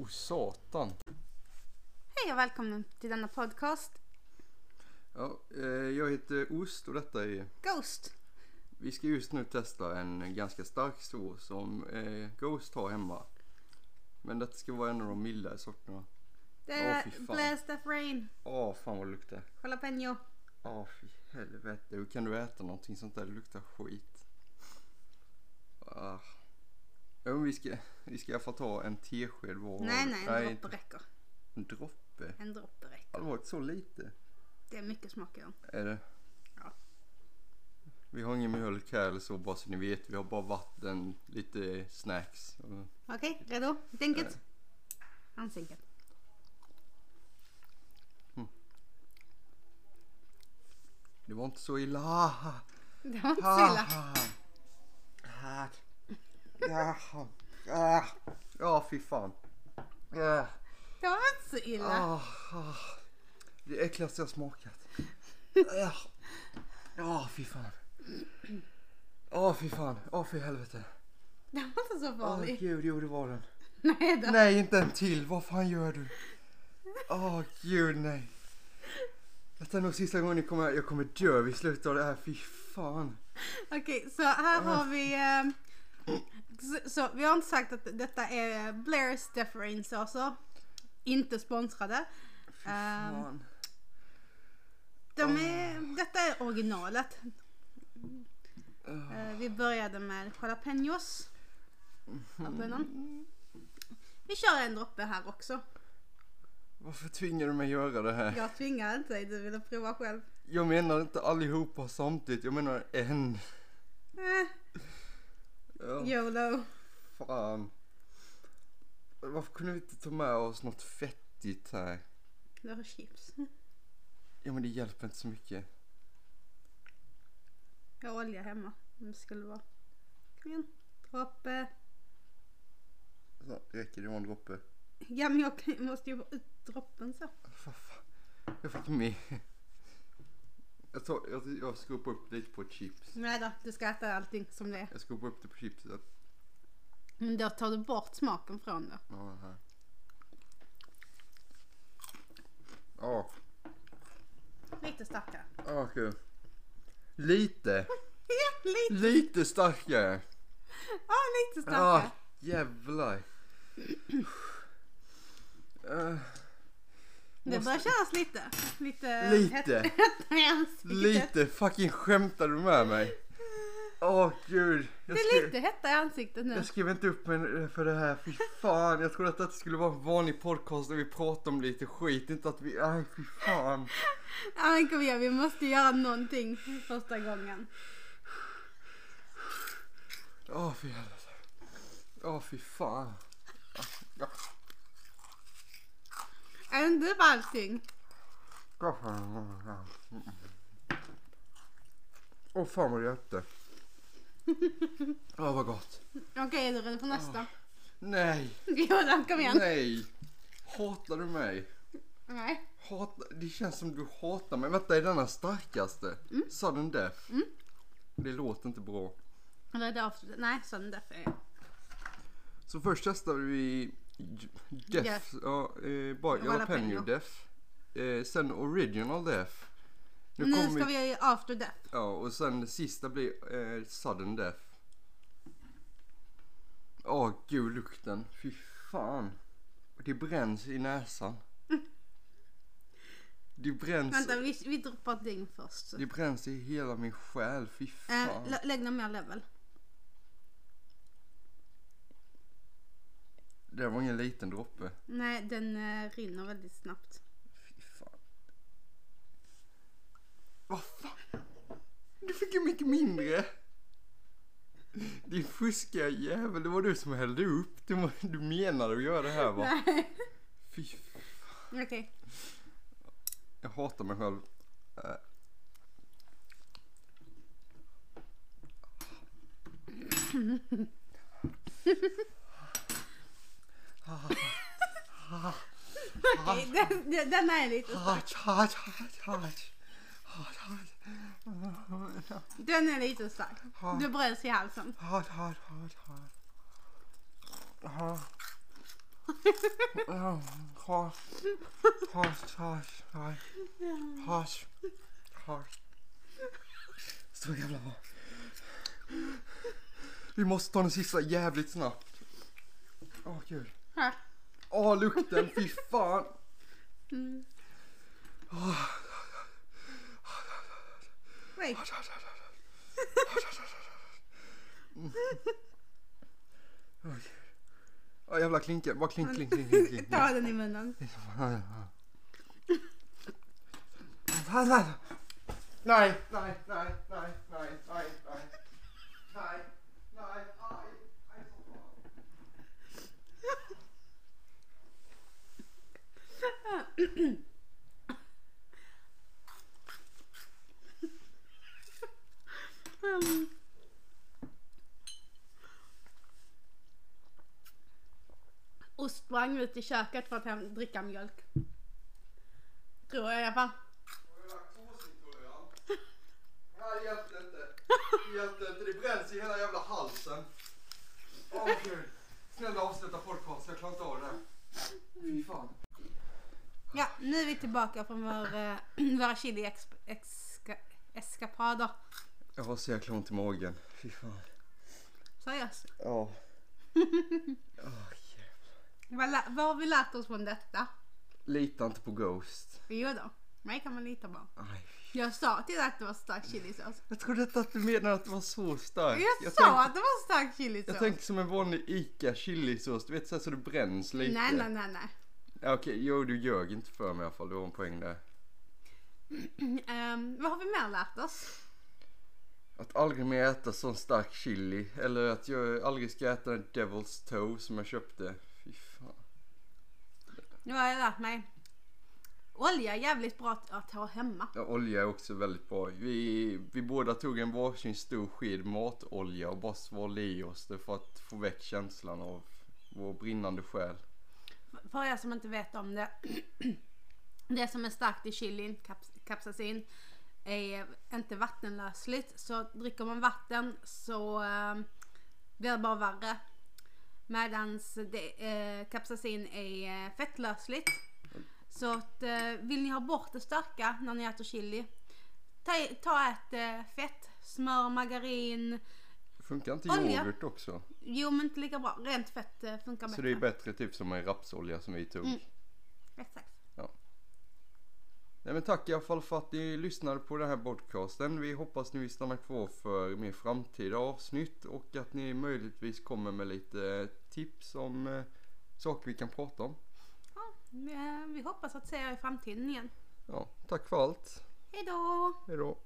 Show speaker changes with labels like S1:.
S1: Oh, satan.
S2: Hej och välkomna till denna podcast
S1: Ja, eh, jag heter Ost och detta är...
S2: Ghost.
S1: Vi ska just nu testa en ganska stark sås som eh, Ghost har hemma. Men detta ska vara en av de mildare sorterna.
S2: Det är
S1: Åh, fy fan.
S2: Blast of Rain,
S1: Åh, fan vad det luktar.
S2: Jalapeno.
S1: Åh, fy helvete. Hur kan du äta någonting sånt där? Det luktar skit. Ah. Ja, men vi ska, vi ska i alla fall ta en tesked var.
S2: Nej, nej, en
S1: nej
S2: droppe räcker.
S1: en droppe.
S2: En droppe räcker.
S1: Har det varit så lite?
S2: Det är mycket smak i dem.
S1: Är det?
S2: Ja.
S1: Vi har ingen mjölk här eller så bara så ni vet. Vi har bara vatten, lite snacks. och-
S2: Okej, redo? Helt enkelt. Hans enkelt.
S1: Det var inte så illa. Ha, ha,
S2: Det var inte så
S1: ha,
S2: illa.
S1: ha. Ha. Ja, ha. Ah. Ja, fy fan. Ja.
S2: Det var inte så illa.
S1: Ah, ah. Det äckligaste jag smakat. Ja, ah, fy fan. Ja, fy fan. Ja, fy helvete.
S2: Det var inte så
S1: Åh
S2: farligt.
S1: gud, jo det var den.
S2: Nej då.
S1: Nej, inte en till. Vad fan gör du? Åh, gud nej. Detta är nog sista gången jag kommer, jag kommer dö vid slutet av det här. Fy fan.
S2: Okej, så här har
S1: Ah.
S2: vi... ehm, så, så vi har inte sagt att detta är Blairs Death Rain såser. Inte sponsrade.
S1: Fy
S2: Ehm,
S1: fan.
S2: De är, detta är originalet.
S1: Ah.
S2: Eh, vi började med jalapenos.
S1: Mhm.
S2: av bönan. Vi kör en droppe här också.
S1: Varför tvingar du mig att göra det här?
S2: Jag tvingar inte dig, du ville prova själv.
S1: Jag menar inte allihopa samtidigt. Jag menar en.
S2: Eh,
S1: Ja,
S2: YOLO.
S1: fan. Varför kunde vi inte ta med oss något fettigt här?
S2: Du har chips.
S1: Ja, men det hjälper inte så mycket.
S2: Jag har olja hemma om det skulle vara. Kom igen. Droppe.
S1: Så, räcker det med en droppe?
S2: Ja men jag kan- måste ju få ut droppen så.
S1: Vad fan? Jag fick med. Jag, tar, jag, jag skopar upp lite på chips.
S2: Nej då, du ska äta allting som det är.
S1: Jag skopar upp det på chipset.
S2: Men då tar du bort smaken från det.
S1: Ja, här. Ja,
S2: Lite starkare.
S1: ah, kul. Lite,
S2: Ja, lite,
S1: lite starkare.
S2: ja, lite
S1: Ja,
S2: starkare.
S1: jävlar. Eh,
S2: Det börjar kännas lite. Lite.
S1: Lite.
S2: hett- hett i ansiktet.
S1: lite, fucking skämtar du med mig? Åh gud. Jag
S2: Det
S1: skrev-
S2: är lite hetta i ansiktet nu.
S1: Jag skrev inte upp mig för det här, fy fan. Jag trodde att det skulle vara en vanlig podcast där vi pratar om lite skit, inte att vi... Aj, fy fan.
S2: Ja men kom igen, vi måste göra någonting första gången.
S1: Åh, fy helvete. Åh, fy fan. Ja,
S2: Är det inte bara allting?
S1: ja, fan. Åh, fan vad det hjälpte. Åh, vad gott.
S2: Okej, är du redo för nästa?
S1: Nej,
S2: Jo då, kom igen.
S1: nej. Hatar du mig?
S2: Nej.
S1: Hata, det känns som du hatar mig. Vänta, är denna starkaste? Sudden death? Det låter inte bra.
S2: Eller är det avslutet? Nej, sån därför är jag.
S1: Så först testade vi Def,
S2: Def.
S1: ja, eh, bara
S2: Jalapeno.
S1: jalapeno Def. Eh, sen Original Def. Nu,
S2: Nu
S1: kommer
S2: ska
S1: vi...
S2: vi göra after death.
S1: Ja, och sen det sista blir eh, Sudden Def. Åh gud lukten, fy fan. Det bränns i näsan. Det bränns,
S2: Vänta, vi, vi droppar ding först.
S1: det bränns i hela min själ, fy fan.
S2: Äh, lägg någon mer level.
S1: Det där var ingen liten droppe.
S2: Nej, den eh, rinner väldigt snabbt.
S1: Fy fan. Vad fan? Du fick ju mycket mindre. Din fuskiga jävel, det var du som hällde upp. Du, må- du menade att göra det här va?
S2: Nej.
S1: Fy fan.
S2: Okej,
S1: Jag hatar mig själv. Äh.
S2: Okej, den, den- den är lite,
S1: Touch, touch, touch, touch. Touch, touch.
S2: den är lite stark. Du bröts i halsen.
S1: Touch, touch, touch, touch. Aha. Ja, Hasch, hasch, hasch, hasch, hasch, hasch. Så jävla bra. Vi måste ta den sista jävligt snabbt. Åh gud.
S2: Här.
S1: Åh lukten, fy fan.
S2: Mm. Nej.
S1: Mm. Åh jävla klinker, bara klink, klink, klink, klink. klink.
S2: Ta den i munnen.
S1: Nej, nej, nej, nej, nej, nej, nej. Nej, nej, aj, aj, så bra.
S2: Mm. Och sprang ut i köket för att hem, dricka mjölk. Tror jag i alla fall.
S1: Har du laktosintolerant? Nej, det hjälpte inte. Det hjälpte inte. Det bränns i hela jävla halsen. Åh gud. Snälla avsluta podcast, jag klarar inte av det här. Fy fan.
S2: Ja, nu är vi tillbaka från vår, eh, våra chili ex, exka, eskapader.
S1: Jag har så jäkla ont i magen. Fy fan.
S2: Seriöst.
S1: Ja.
S2: Vad, lä- vad har vi lärt oss från detta?
S1: Lita inte på Ghost.
S2: Jo då, mig kan man lita på.
S1: Aj.
S2: Jag sa till dig att det var stark chilisås.
S1: Jag trodde inte att du menade att det var så starkt.
S2: Jag, sa
S1: tänkte-
S2: att det var stark chilisås.
S1: Jag tänker som en vanlig ICA chilisås, du vet såhär så det bränns lite.
S2: nej, nej, nej, nej.
S1: Ja, Okej, jo du ljög inte för mig i alla fall, du har en poäng där.
S2: Ehm, vad har vi mer lärt oss?
S1: Att aldrig mer äta sån stark chili, eller att jag aldrig ska äta en Devil's Toe som jag köpte. Fy fan.
S2: Nu har jag lärt mig. Olja är jävligt bra att, att ha hemma.
S1: Ja, olja är också väldigt bra. Vi, vi båda tog en varsin stor sked matolja och bara svalde i oss det för att få väck känslan av vår brinnande själ.
S2: För er som inte vet om det. Det som är starkt i chilin, kaps, kapsaicin, är inte vattenlösligt. Så dricker man vatten så eh, blir det bara värre. Medans det, eh, kapsaicin är eh, fettlösligt. Så att, eh, vill ni ha bort det starka när ni äter chili, ta, ta ett eh, fett, smör, margarin.
S1: Funkar inte
S2: Olja.
S1: yoghurt också?
S2: Jo men inte lika bra, rent fett eh, funkar bättre.
S1: Så det är bättre typ som en rapsolja som vi tog.
S2: Mm. Exakt.
S1: Nej men tack i alla fall för att ni lyssnade på den här podcasten. Vi hoppas ni vill stanna kvar för mer framtida avsnitt och att ni möjligtvis kommer med lite tips om eh, saker vi kan prata om.
S2: Ja, eh, vi- vi hoppas att se er i framtiden igen.
S1: Ja, tack för allt.
S2: Hej då!
S1: Hejdå.